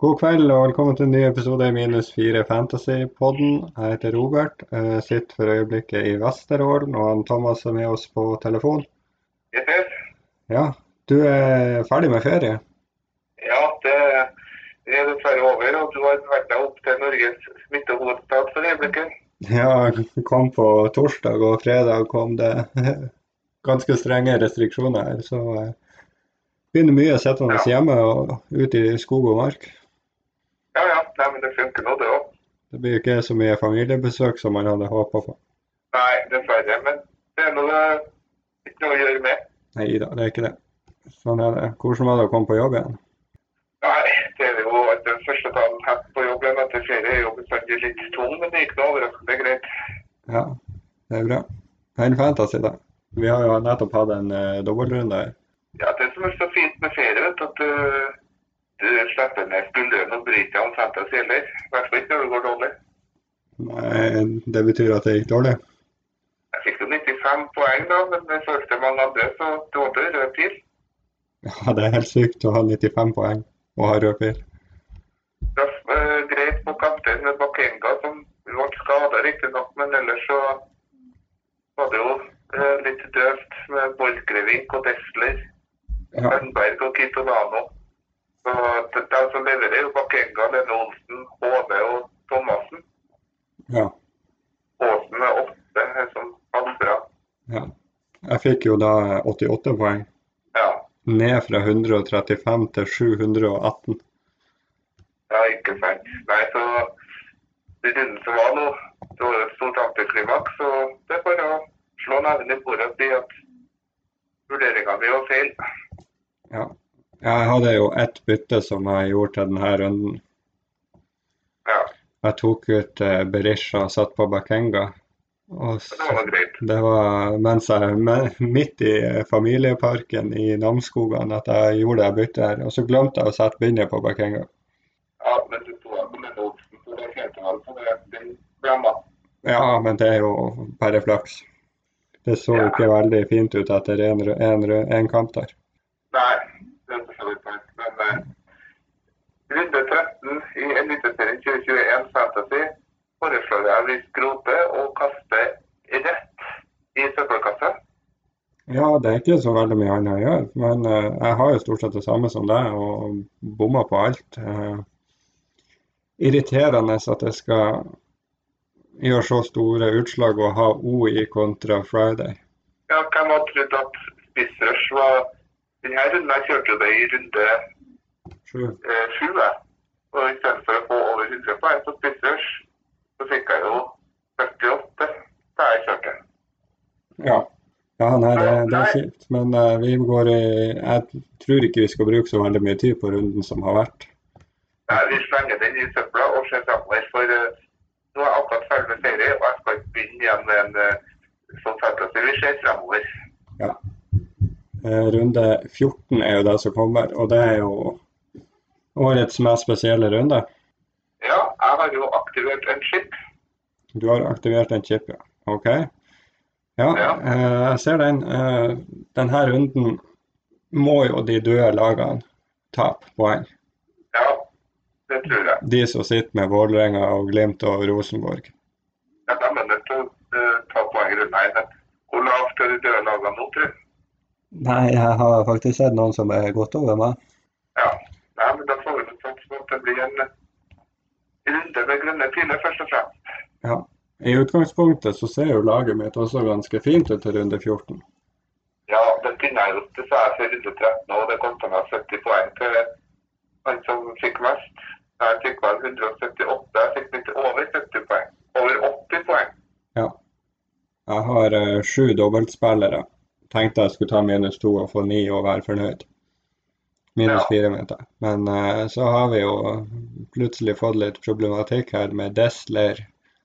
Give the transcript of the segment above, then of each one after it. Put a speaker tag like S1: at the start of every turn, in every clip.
S1: God kveld og velkommen til en ny episode i Minus 4 Fantasy-podden. Jeg heter Robert. Jeg sitter for øyeblikket i Vesterålen, og han Thomas er med oss på telefon.
S2: Jepp, jepp.
S1: Ja, du er ferdig med ferie?
S2: Ja, det, det er dessverre over, og du har vært deg opp til Norges smittehovedstad for øyeblikket.
S1: Ja, jeg kom på torsdag og fredag kom det ganske strenge restriksjoner her, så eh, begynner mye å sitte oss hjemme og ute i skog og mark.
S2: Ja, ja. Nei, men det funker nå, det òg.
S1: Det blir ikke så mye familiebesøk som man hadde håpa på.
S2: Nei, dessverre. Men det er noe ikke noe å gjøre med.
S1: Nei da, det er ikke det. Sånn er det. Hvordan var det å komme på jobb igjen?
S2: Nei, det er jo at den første dagen her på jobb igjen etter ferie er jo bestandig litt tung, men det gikk nå overraskende greit.
S1: Ja, det er bra. Men fantasy, da. Vi har jo nettopp hatt en eh, dobbeltrunde her.
S2: Ja, det som er så fint med ferie, vet du, at du, du slipper ned skuldrene og bryr deg om fantasy heller. I hvert fall ikke når det går dårlig.
S1: Nei, Eh, Det betyr at det gikk dårlig.
S2: Jeg fikk jo 95 poeng, da, men det følte mange andre, så det ble en rød pil.
S1: Ja, det er helt sykt å ha 95 poeng og ha rød pil.
S2: Traff eh, greit på kapteinen med Bakenga, som ble skada riktignok, men ellers så var det jo eh, litt døvt med Borchgrevink og Desler,
S1: Ja,
S2: Sandberg og Kitolano. Så de, de som leverer, er jo Bakenga, Lene Olsen, Hove og Thomassen.
S1: ja,
S2: Aasen med åtte, eh, som hadde bra.
S1: ja. Jeg fikk jo da 88 poeng.
S2: Ja,
S1: Ned fra 135 til 718.
S2: ja ikke sant. Nei, så den runden som var nå, det var jo et stort antiklimaks, så det er bare å slå nevnen i bordet og si at vurderinga mi var feil.
S1: Ja. Jeg hadde jo ett bytte som jeg gjorde til denne runden.
S2: Ja,
S1: Jeg tok ut eh, Berisha og satt på Bakenga. Og så
S2: men det var nå greit.
S1: Det var mens jeg me- midt i familieparken i Namsskogan at jeg gjorde det byttet her. Og så glemte jeg å sette bindet på Bakenga.
S2: Ja, men du sto på Lene Olsen, så det tjente vel på det. Den blemma.
S1: Ja, men det er jo bare flaks. Det så
S2: Ja.
S1: ikke veldig fint ut etter en, rø- en, rø- en kamp der.
S2: Nei, det er for så vidt sant, men eh, runde 13 i Eliteserien 2021 Fantasy foreslår jeg vi skroter og kaster rett i søppelkassa.
S1: Ja, det er ikke så veldig mye annet å gjøre, men eh, jeg har jo stort sett det samme som deg og bomma på alt. Eh, irriterende at jeg skal gjøre så store utslag og ha OI kontra Friday.
S2: Ja, hvem hadde trodd at spissrush var Denne runden jeg kjørte jo det i runde
S1: Sju.
S2: eh, sju. jeg. Og i stedet for å få over 100 poeng på spissrush, så fikk jeg jo 48 da jeg kjørte.
S1: Ja. Ja, nei, det, det er
S2: Nei.
S1: kjipt, men eh, vi går i Jeg tror ikke vi skal bruke så veldig mye tid på runden som har vært.
S2: Nei, vi slenger den i søpla og ser framover, for eh, nå er jeg akkurat ferdig med ferie, og jeg skal ikke begynne igjen med en eh, sånn fantasy. Vi ser framover.
S1: Eh, runde 14 er jo det som kommer, og det er jo årets mest spesielle runde.
S2: Ja, jeg har jo aktivert en chip.
S1: Du har aktivert en chip, ja. OK? Ja,
S2: Ja.
S1: eh, jeg ser den. Eh, denne runden må jo de døde lagene tape poeng.
S2: Ja, det tror jeg.
S1: De som sitter med Vålerenga og Glimt og Rosenborg.
S2: Ja, da mener jeg til å eh, ta poeng rundt her. men Hvor lavt er de døde lagene nå, tror du?
S1: Nei, jeg har faktisk sett noen som er gått over meg.
S2: Ja. Nei, men da får vi nok satse på at det blir en eh, runde med grønne piler, først og fremst.
S1: Ja. I utgangspunktet så ser jo laget mitt også ganske fint ut til runde 14.
S2: Ja, den finner jeg jo til seg for runde 13, og det kosta meg 70 poeng til han som fikk mest. Jeg fikk vel 178, jeg fikk litt over 70 poeng. Over 80 poeng.
S1: Jeg har eh, sju dobbeltspillere. Tenkte jeg skulle ta minus to og få ni og være fornøyd. Minus
S2: Ja.
S1: fire, mente jeg. Men eh, så har vi jo plutselig fått litt problematikk her med Desler,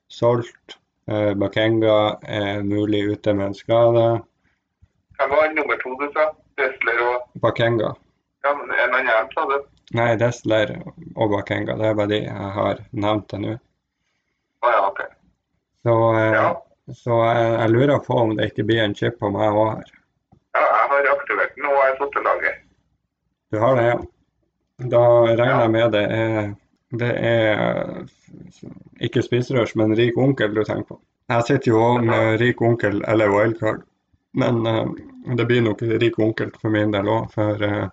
S1: solgt. eh, Bakenga er mulig ute med en skade.
S2: Hvem var han nummer to du sa? Dessler og
S1: Bakenga.
S2: ja, men en annen sa det.
S1: Nei, Desler og Bakenga. Det er bare de jeg har nevnt til nå.
S2: Å ja, OK.
S1: Så eh,
S2: Ja.
S1: Så jeg, jeg lurer på om det ikke blir en chip på meg òg her.
S2: ja, jeg har aktivert den, og jeg har fått til laget.
S1: Du har det, ja? Da regner jeg med det er, det er ikke spiserørs, men rik onkel du tenker på. Jeg sitter jo også med rik onkel eller wildcard, men eh, det blir nok rik onkel for min del òg. For eh,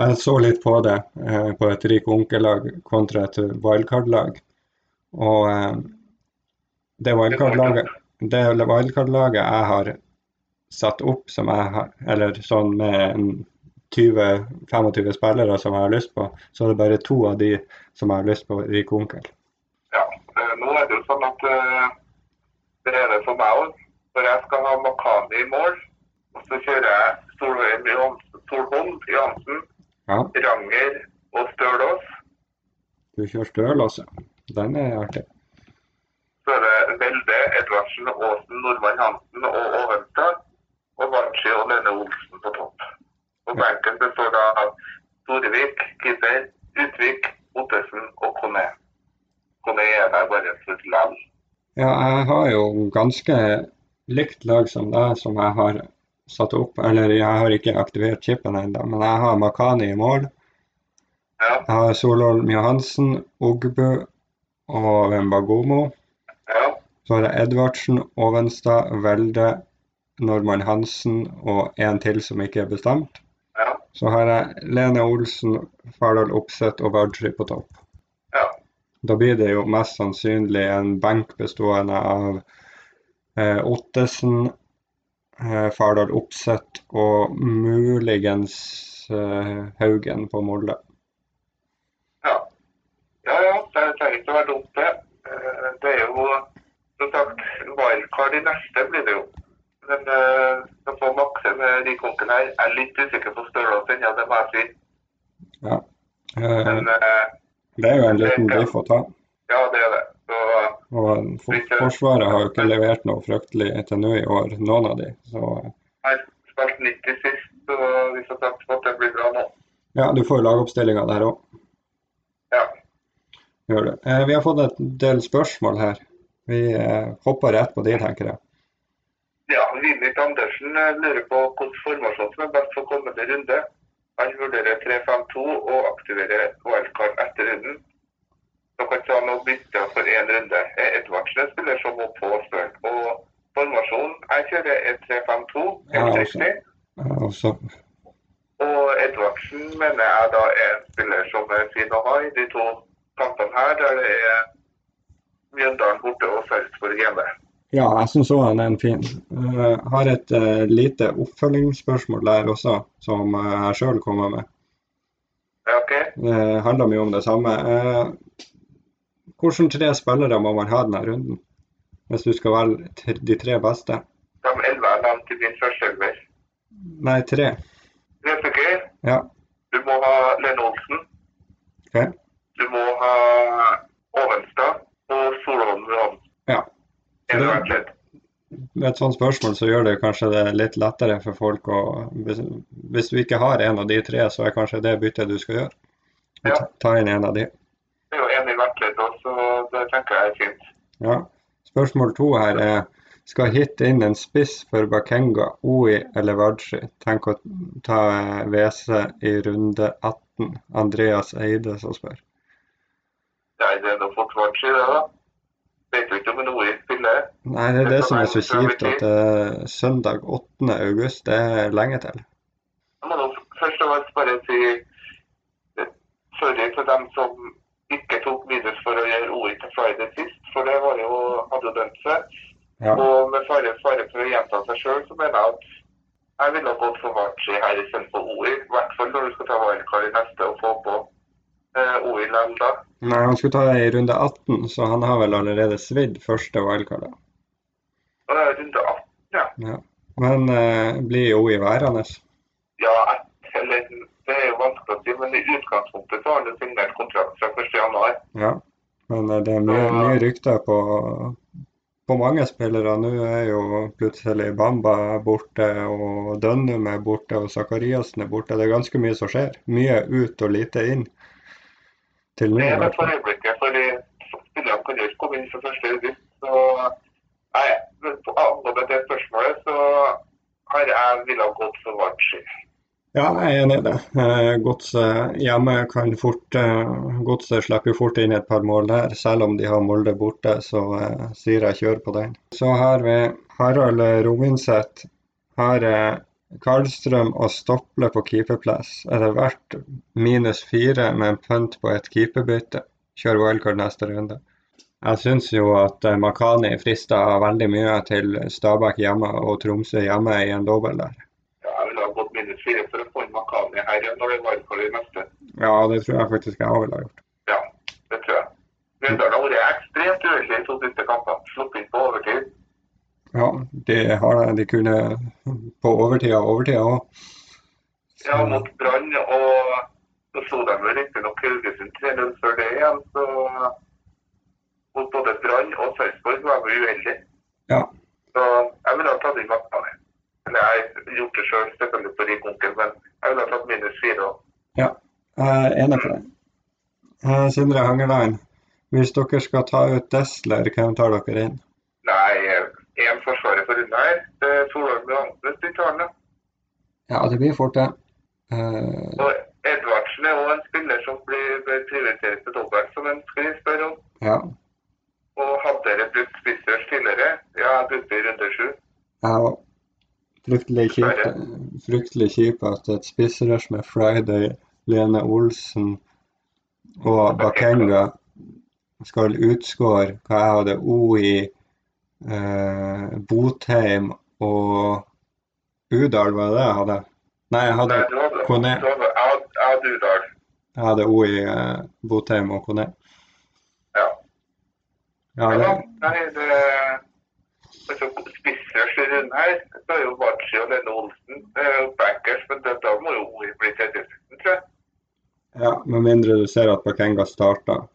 S1: jeg så litt på det eh, på et rik onkel-lag kontra et wildcard-lag. Og eh, det wildcard-laget det wildcard-laget jeg har satt opp, som jeg har, eller sånn med en 20-25 spillere som jeg har lyst på, så er det bare to av de som jeg har lyst på rik onkel.
S2: Ja, eh, nå er det jo sånn at eh, det er det for meg òg. Når jeg skal ha Makani i mål, og så kjører jeg Solheim Johansen, Solholm Johansen,
S1: Ja,
S2: Ranger og Stølås,
S1: du kjører støl også. Den er artig.
S2: så er det Velde, Edvardsen, Aasen, Nordmann Hansen og Oventa, og Vanchi og Lene Olsen på topp. Og benken består da av Storevik, Kipper, Utvik, Ottesen og Kone. Kone er der bare for et lall.
S1: Ja, jeg har jo ganske likt lag som deg, som jeg har satt opp. Eller jeg har ikke aktivert chipen ennå, men jeg har Makani i mål.
S2: Ja,
S1: Jeg har Solholm Johansen, Ogbu og Wembagomo.
S2: ja,
S1: Så har jeg Edvardsen, Ovenstad, Velde, Normann Hansen og en til som ikke er bestemt.
S2: ja.
S1: Så har jeg Lene Olsen, Fardal Opseth og Vardry på topp.
S2: Ja.
S1: Da blir det jo mest sannsynlig en benk bestående av eh, Ottesen, eh, Fardal Opseth og muligens eh, Haugen på Molde.
S2: Ja, ja, ja det trenger ikke å være dumt, det. Eh, Det er jo som sagt wildcard i neste, blir det jo. Men eh, å få makse med de konkurrene her, jeg er litt usikker på størrelsen, ja, det må jeg si.
S1: Eh,
S2: Men eh,
S1: det er jo en liten biff å ta.
S2: ja, det er det. Så
S1: Og for Forsvaret har jo ikke levert noe fryktelig til nå i år, noen av de. Så
S2: jeg har spilt 90 sist, så vi får satse på at det blir bra nå.
S1: ja, du får jo lagoppstillinga der òg.
S2: Ja.
S1: Gjør det. Eh, vi har fått et del spørsmål her. Vi eh, hopper rett på de, tenker jeg.
S2: Ja, Vibeke Andersen eh, lurer på hvilken formasjon som er best for kommende runde. Han vurderer 3-5-2 og aktiverer wildcard etter runden. Da kan ikke han å bytte for én runde. Eh, Edvardsen er spiller som må på spørre. Og formasjonen jeg kjører er 3-5-2, helt
S1: Ja,
S2: riktig.
S1: Eh, og så,
S2: Og Edvardsen mener jeg da er en spiller som er fin å ha i de to kampene her, der det er Mjøndalen borte og Sarpsborg hjemme.
S1: ja, jeg syns òg han er en fin. Eh, har et eh, lite oppfølgingsspørsmål der også, som eh, jeg sjøl kommer med.
S2: Ja, OK?
S1: Det handler mye om det samme. Eh, hvordan tre spillere må man ha denne runden? Hvis du skal velge t- de tre beste?
S2: De elleve er nevnt i min første elver.
S1: Nei, tre.
S2: Rødsekker,
S1: Ja.
S2: du må ha Lene Olsen,
S1: Ok.
S2: du må ha Ovenstad og Solholm Johansen.
S1: Ja.
S2: En
S1: Det-
S2: hver ledd.
S1: Med et sånt spørsmål så gjør det kanskje det litt lettere for folk å Hvis, hvis du ikke har en av de tre, så er kanskje det byttet du skal gjøre. Å
S2: Ja.
S1: ta- Ta inn en av de.
S2: Det er jo en i hvert ledd også, så det tenker jeg er fint.
S1: Ja. Spørsmål to her er skal hit inn en spiss for Bakenga, Oi eller Vardsi. Tenk å ta eh, WC i runde 18. Andreas Eide som spør.
S2: Det er det noe forsvarsski, det da. Vet jo ikke om noe i spillet.
S1: Nei, det er det som er så kjipt at eh, søndag 8. august, det er lenge til.
S2: Jeg må nå først og fremst bare si eh, sorry til dem som ikke tok minus for å gjøre OI til Friday sist, for det var jo, hadde jo dømt seg.
S1: Ja.
S2: Og med fare, fare for å gjenta seg sjøl, så mener jeg at jeg ville ha gått for Vachi her istedenfor OI. I hvert fall når du skal ta wildcard i neste og få på eh, OI likevel da.
S1: Nei, han skulle ta det i runde 18, så han har vel allerede svidd første wildcard. da.
S2: Og det er runde 18, ja.
S1: Men eh, blir jo i værende.
S2: Ja, ett eller Det er jo vanskelig å si, men i utgangspunktet så har han jo signert kontrakt fra 1. januar.
S1: Ja. Men eh, det er mye, mye rykter på, på mange spillere. Nå er jo plutselig Bamba borte, og Dønnum er borte, og Zakariassen er borte. Det er ganske mye som skjer. Mye ut og lite inn. Til nå.
S2: Det
S1: i
S2: er det
S1: hvert
S2: for
S1: fall.
S2: øyeblikket, fordi spillerne kan jo ikke komme inn for første august. Så nei, men på angående det spørsmålet, så har jeg villet gått for Vartsi.
S1: Ja, jeg er enig i det. Eh, Godset hjemme kan fort eh, Godset slipper jo fort inn et par mål der, selv om de har Molde borte, så eh, sier jeg kjør på den. Så har vi Harald Roinseth. Har eh, Karlstrøm og Stople på keeperplass. Etter hvert minus fire med en pønt på et keeperbytte. Kjør wildcard neste runde. Jeg syns jo at eh, Makani frister veldig mye til Stabæk hjemme og Tromsø hjemme i en dobbel der.
S2: Ja, jeg ville ha gått minus fire for å få inn Makani her igjen når det var for det neste.
S1: Ja, det tror jeg faktisk jeg òg ville ha gjort.
S2: Ja, det tror jeg. Mjøndalen har vært ekstremt uheldig i to siste kamper. Sluppet inn på overtid.
S1: Ja, det har de. De kunne på overtida og overtida òg.
S2: Ja, mot Brann, og så slo de jo riktignok Haugesund 3-0 før det igjen, så mot både Brann og Sarpsborg var vi uheldige.
S1: Ja.
S2: Så jeg ville ha tatt inn Makani. Eller jeg har gjort det sjøl, selvfølgelig på rik onkel, men jeg ville ha tatt minus fire òg.
S1: Jeg er enig på det. Eh, Sindre Hangeland, hvis dere skal ta ut Desler, hvem tar dere inn?
S2: Nei, én forsvarer for unna her. Det er Solholm Johansen i tallene.
S1: Ja, det blir fort det. Eh,
S2: Og Edvardsen er òg en spiller som blir bør prioriteres til dobbelt, som en skulle spørre om.
S1: ja,
S2: Og hadde dere brukt spissers tidligere? Ja, jeg brukte i runde sju.
S1: jeg òg. Fryktelig kjipt, fryktelig kjipt at et spissrush med Friday, Lene Olsen og Bakenga skal utskåre hva jeg hadde OI, eh, Botheim og Udal, var det det jeg hadde? Nei, jeg hadde,
S2: Nei, du hadde
S1: Kone.
S2: du hadde- Jeg hadde- jeg hadde Udal.
S1: jeg hadde OI, eh, Botheim og Kone.
S2: Ja.
S1: Ja, det,
S2: Ja, nei, det altså, Spissers i runden her, så er jo Bachi og Lene Olsen eh, bankers, men det, da må jo Ori bli tredjespisten, tror jeg.
S1: ja, med mindre du ser at Bakenga starta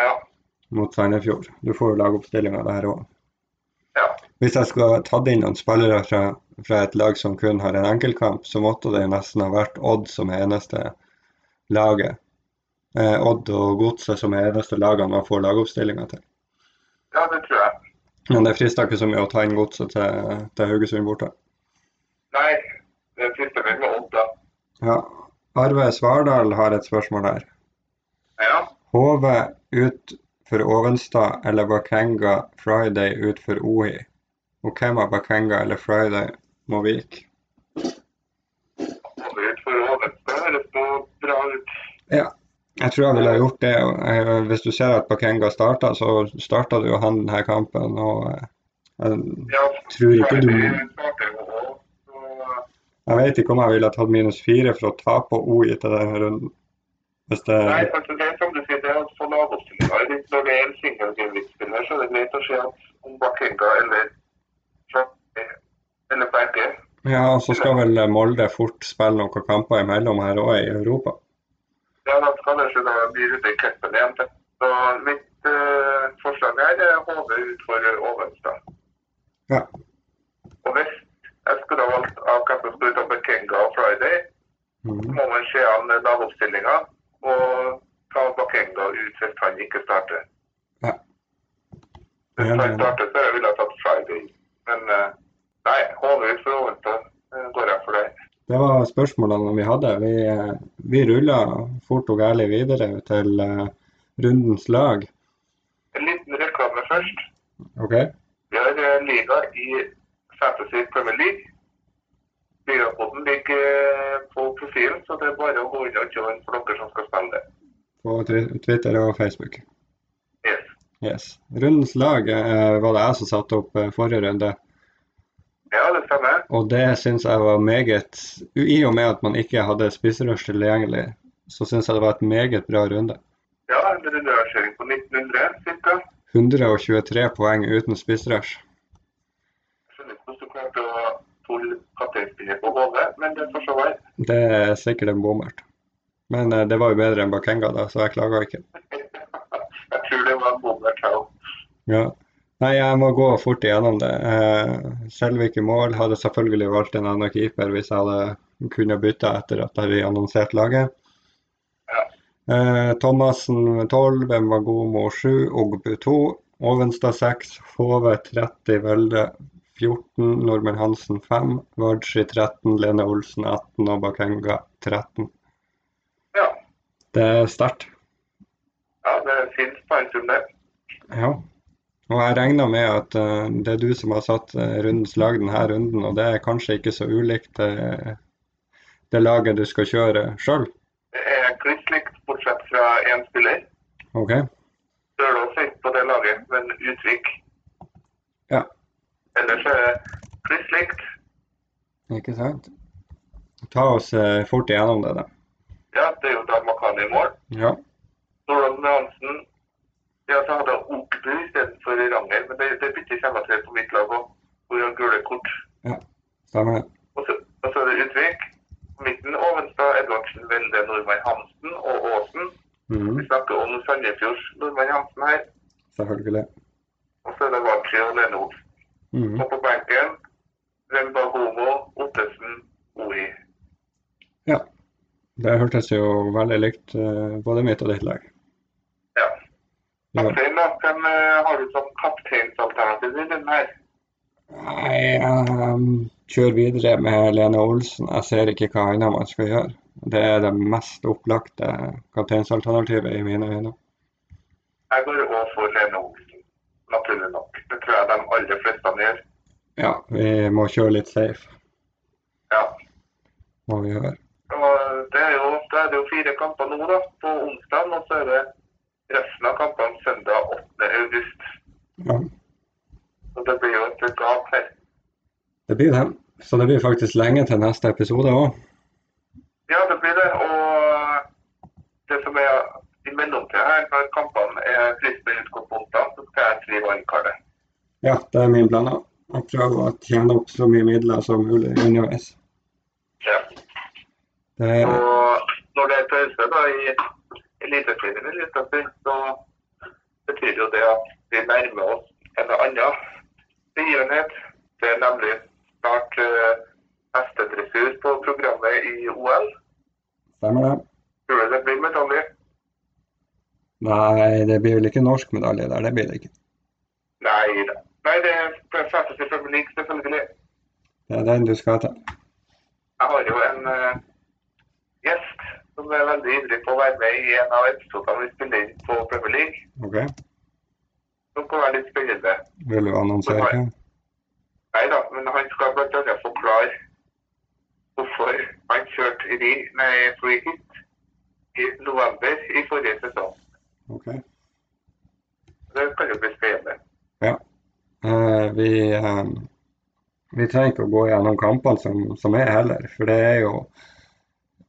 S2: Ja.
S1: mot Sandefjord. Du får jo lagoppstillinga der òg.
S2: ja.
S1: Hvis jeg skulle ha tatt inn noen spillere fra, fra et lag som kun har en enkeltkamp, så måtte det jo nesten ha vært Odd som er eneste laget. Eh, Odd og Godset som er eneste lagene man får lagoppstillinga til.
S2: ja, det tror jeg.
S1: Men det frister ikke så mye å ta inn Godset til, til Haugesund borte.
S2: Nei, det siste vel med Odd, da.
S1: Ja. Arve Svardal har et spørsmål her.
S2: Ja.
S1: HV ut for Ovenstad eller Bakenga Friday ut for OI? Og hvem av Bakenga eller Friday må vike?
S2: Kommer ut for Ovenstad, høres nå bra ut.
S1: Jeg tror jeg ville ha gjort det. og, eh, Hvis du ser at Bakenga starta, så starta du jo han denne kampen. Og eh, jeg
S2: Ja,
S1: tror ikke du
S2: Bachi starter jo også, så
S1: Jeg vet ikke om jeg ville ha tatt minus fire for å tape på OI til denne runden. Hvis det
S2: Nei, altså det er som du sier, det er for lagoppstillinger. Når det er en singelgevinstspiller, så er det greit å se at om Bakenga eller eller begge
S1: Ja, og så skal vel Molde fort spille noen kamper imellom her òg, i Europa.
S2: Ja, da skal det ikke da bli ute i cupen igjen. det. Så mitt eh, forslag her er HV ut for Ovenstad.
S1: Ja.
S2: Og hvis jeg skulle ha valgt av hvem som skulle ut av Bakenga og Friday, så
S1: Mhm.
S2: må man se an lagoppstillinga og ta Bakenga ut hvis han ikke starter.
S1: Jeg
S2: Fra
S1: er enig.
S2: startet så jeg ville jeg tatt Friday. Men eh, nei, HV for Ovenstad eh, går jeg for det.
S1: Det var spørsmålene vi hadde. Vi, eh, vi rulla fort og gærlig videre til eh, rundens lag.
S2: En liten reklame først.
S1: OK?
S2: Vi har eh, liga i Fantasy Premier League. Byrapoden ligger eh, på profilen, så det er bare å gå inn og join for dere som skal spille det.
S1: På Tri- Twitter og Facebook.
S2: Yes.
S1: Yes. Rundens lag eh, var det jeg som satte opp eh, forrige runde,
S2: Ja, det stemmer.
S1: og det syns jeg var meget I og med at man ikke hadde spissrush tilgjengelig, så syns jeg det var et meget bra runde.
S2: Ja, en rundrørsering på 1900 ca.
S1: 123 poeng uten spissrush.
S2: Skjønner ikke hvordan du klarte å holde kapteinspillet på HV, men det får så være.
S1: Det er sikkert en bommert. Men eh, det var jo bedre enn Bakenga, da, så jeg klager ikke.
S2: jeg tror det var en bommert her også.
S1: Ja. Nei, jeg må gå fort igjennom det. Eh, Selvik i mål. Hadde selvfølgelig valgt en annen keeper hvis jeg hadde kunnet bytte etter at jeg hadde annonsert laget.
S2: Ja.
S1: Eh, Thomassen 12, Mbagomo 7, Ogbu 2, Ovenstad 6, HV 30, Velde 14, Normann Hansen 5, Vardsi 13, Lene Olsen 18 og Bakenga 13.
S2: Ja.
S1: Det er sterkt.
S2: ja, det er fint på en stund, det.
S1: Ja. Og jeg regner med at eh, det er du som har satt eh, rundens lag denne runden, og det er kanskje ikke så ulikt eh, det laget du skal kjøre sjøl.
S2: Det er kliss likt, bortsett fra én spiller.
S1: OK?
S2: Dølås er ikke på det laget, men Utvik.
S1: Ja.
S2: Ellers er det kliss likt.
S1: Ikke sant? Ta oss eh, fort igjennom det, da.
S2: Ja, det er jo Dag Makani i mål.
S1: Ja.
S2: Nordland Hansen Ja, så hadde jeg Ogbu istedenfor Ranger, men det, det bytter seg til på mitt lag òg, hvor jeg har gule kort.
S1: Stemmer det.
S2: Og så, og så er det Utvik. Midten Ovenstad, Edvardsen, Velde, Nordmann Hansen og Aasen. Vi
S1: Mhm,
S2: snakker om Sandefjords Nordmann Hansen her.
S1: selvfølgelig.
S2: Og så er det Vardø og Lene Olsen.
S1: Mhm,
S2: Og på benken Remba Homo, Ottesen, Oi.
S1: Det hørtes jo veldig likt eh, både mitt og ditt lag.
S2: Ja.
S1: Ja.
S2: Kaptein, da. Hvem eh, har du som kapteinsalternativ i denne her?
S1: Nei, jeg kjører videre med Lene Olsen. Jeg ser ikke hva annet man skal gjøre. Det er det mest opplagte kapteinsalternativet i mine øyne.
S2: Jeg går også for Lene Olsen, naturlig nok. Det tror jeg de aller fleste gjør.
S1: Ja, vi må kjøre litt safe,
S2: Ja.
S1: må vi gjøre.
S2: Og det er jo, da er det jo fire kamper nå da, på onsdag, og så er det resten av kampene søndag 8. august.
S1: Ja,
S2: Og det blir jo et gap her.
S1: det blir det. Så det blir faktisk lenge til neste episode òg.
S2: Ja, det blir det. Og eh, det som er i mellomtida her, når kampene er fristende utgått på onsdag, så skal jeg skrive vannkartet.
S1: Ja, det er min plan. da. Jeg prøver å tjene opp så mye midler som mulig underveis.
S2: Ja.
S1: Det er
S2: Og når det er pause da i Eliteserien en liten stund, så betyr jo det at vi nærmer oss en annen begivenhet. Det er nemlig snart eh, hestedressur på programmet i OL.
S1: Stemmer det?
S2: Tror du det blir medalje?
S1: Nei, det blir vel ikke norsk medalje der. Det blir det ikke.
S2: Nei da. Nei, det er settes i Premier League, selvfølgelig.
S1: Det er den du skal til.
S2: Jeg har jo en eh, gjest som er veldig ivrig på å være med i en av episodene vi spiller inn på Premier League.
S1: OK?
S2: Som kan være litt spennende.
S1: Vil du annonsere hvem?
S2: Nei da, men han skal blant annet forklare hvorfor han kjørte ri, nei, free hit i november i forrige sesong.
S1: OK?
S2: Det kan jo bli spennende.
S1: Eh, vi, eh, vi trenger ikke å gå gjennom kampene som, som er heller, for det er jo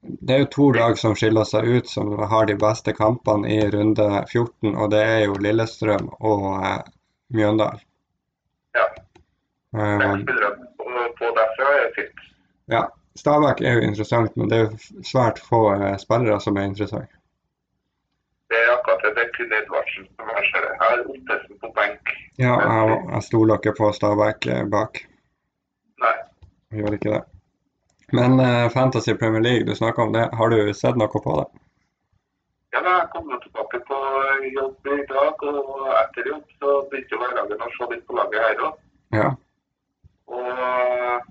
S1: det er jo to lag som skiller seg ut, som har de beste kampene i runde 14, og det er jo Lillestrøm og eh, Mjøndalen.
S2: Ja.
S1: Eh,
S2: Men spillere på- på derfra er fint.
S1: ja. Stabæk er jo interessant, men det er jo svært få eh, spillere som er interessant.
S2: Det er akkurat det. Det er kun Edvardsen som har skjedd. Jeg har Ottesen på benk.
S1: Ja, jeg, jeg stoler ikke på Stabæk eh, bak.
S2: Nei.
S1: Jeg gjør ikke det. Men eh, Fantasy Premier League, du snakka om det. Har du sett noe på det?
S2: Ja, da, jeg kom jo tilbake på jobb i dag, og etter jobb så begynte jo hverdagen å se litt på laget her òg.
S1: Ja.
S2: Og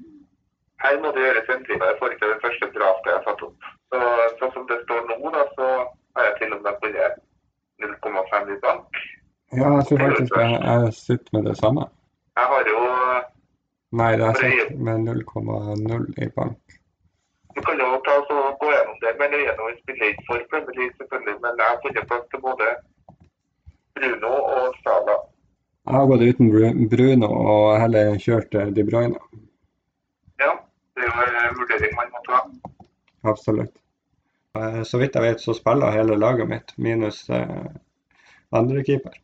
S2: her må det gjøres endringer i forhold til det første draftet jeg satte opp. Så, sånn som det står nå, da, så har jeg til og med vunnet 0,5 i bank.
S1: Ja, jeg tror faktisk jeg, jeg sitter med det samme.
S2: Jeg har jo
S1: Nei, jeg sitter med 0,0 i bank.
S2: Du kan jo ta så gå gjennom det, men gjennom en spiller ikke for Premier League, selvfølgelig. Men jeg har funnet plass til både Bruno og Sala.
S1: Jeg har gått uten Bru- Bruno og heller kjørt eh, De Bruyne.
S2: Ja, det er jo en vurdering man må ta.
S1: Absolutt. Eh, Så vidt jeg vet, så spiller hele laget mitt, minus eh, andre keeper.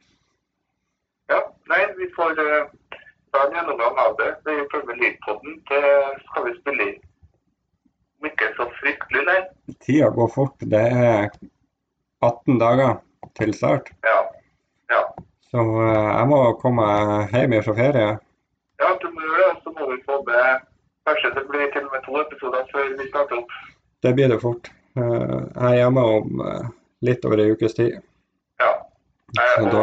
S2: Ja, nei, vi får eh, ta en gjennomgang av det. Det er Premier League-podden. Det skal vi spille inn. Om ikke så fryktelig, nei.
S1: Tida går fort. Det er 18 dager til start.
S2: Ja. ja.
S1: Så eh, jeg må komme meg hjem fra ferie.
S2: Ja, du må gjøre det. og Så må vi få med Kanskje det blir til og med to episoder før vi starter opp.
S1: Det blir det fort. Eh, Jeg er hjemme om eh, litt over ei ukes tid.
S2: Ja. Eh,
S1: Så
S2: og
S1: da,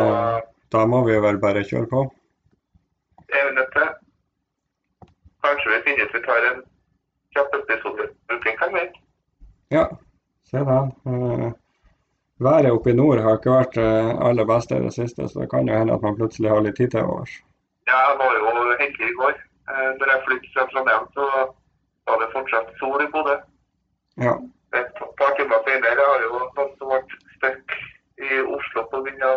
S1: da må vi vel bare kjøre på.
S2: det er vi nødt til. fint vi tar en kjapp episode. Brukling kan vente.
S1: Ja, se der. Eh, været oppe i nord har ikke vært eh, aller beste i det siste, så det kan jo hende at man plutselig har litt tid til overs.
S2: Jeg var jo heldig i går. Eh, Når jeg flyttet fra Trondheim, så var det fortsatt sol i Bodø.
S1: Ja.
S2: Et par timer senere har jo noen som ble stuck i Oslo pga.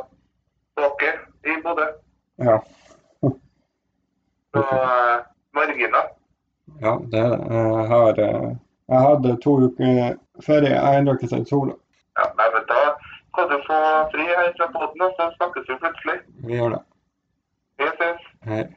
S2: tåke i Bodø.
S1: Ja.
S2: Så eh, marginer.
S1: Ja, det er det. Jeg har eh, Jeg hadde to uker ferie. Jeg har ennå ikke sett sola.
S2: Ja, nei, men da kan du få fri her fra båten, og så snakkes vi plutselig.
S1: Vi gjør det.
S2: Vi ses.
S1: Hei.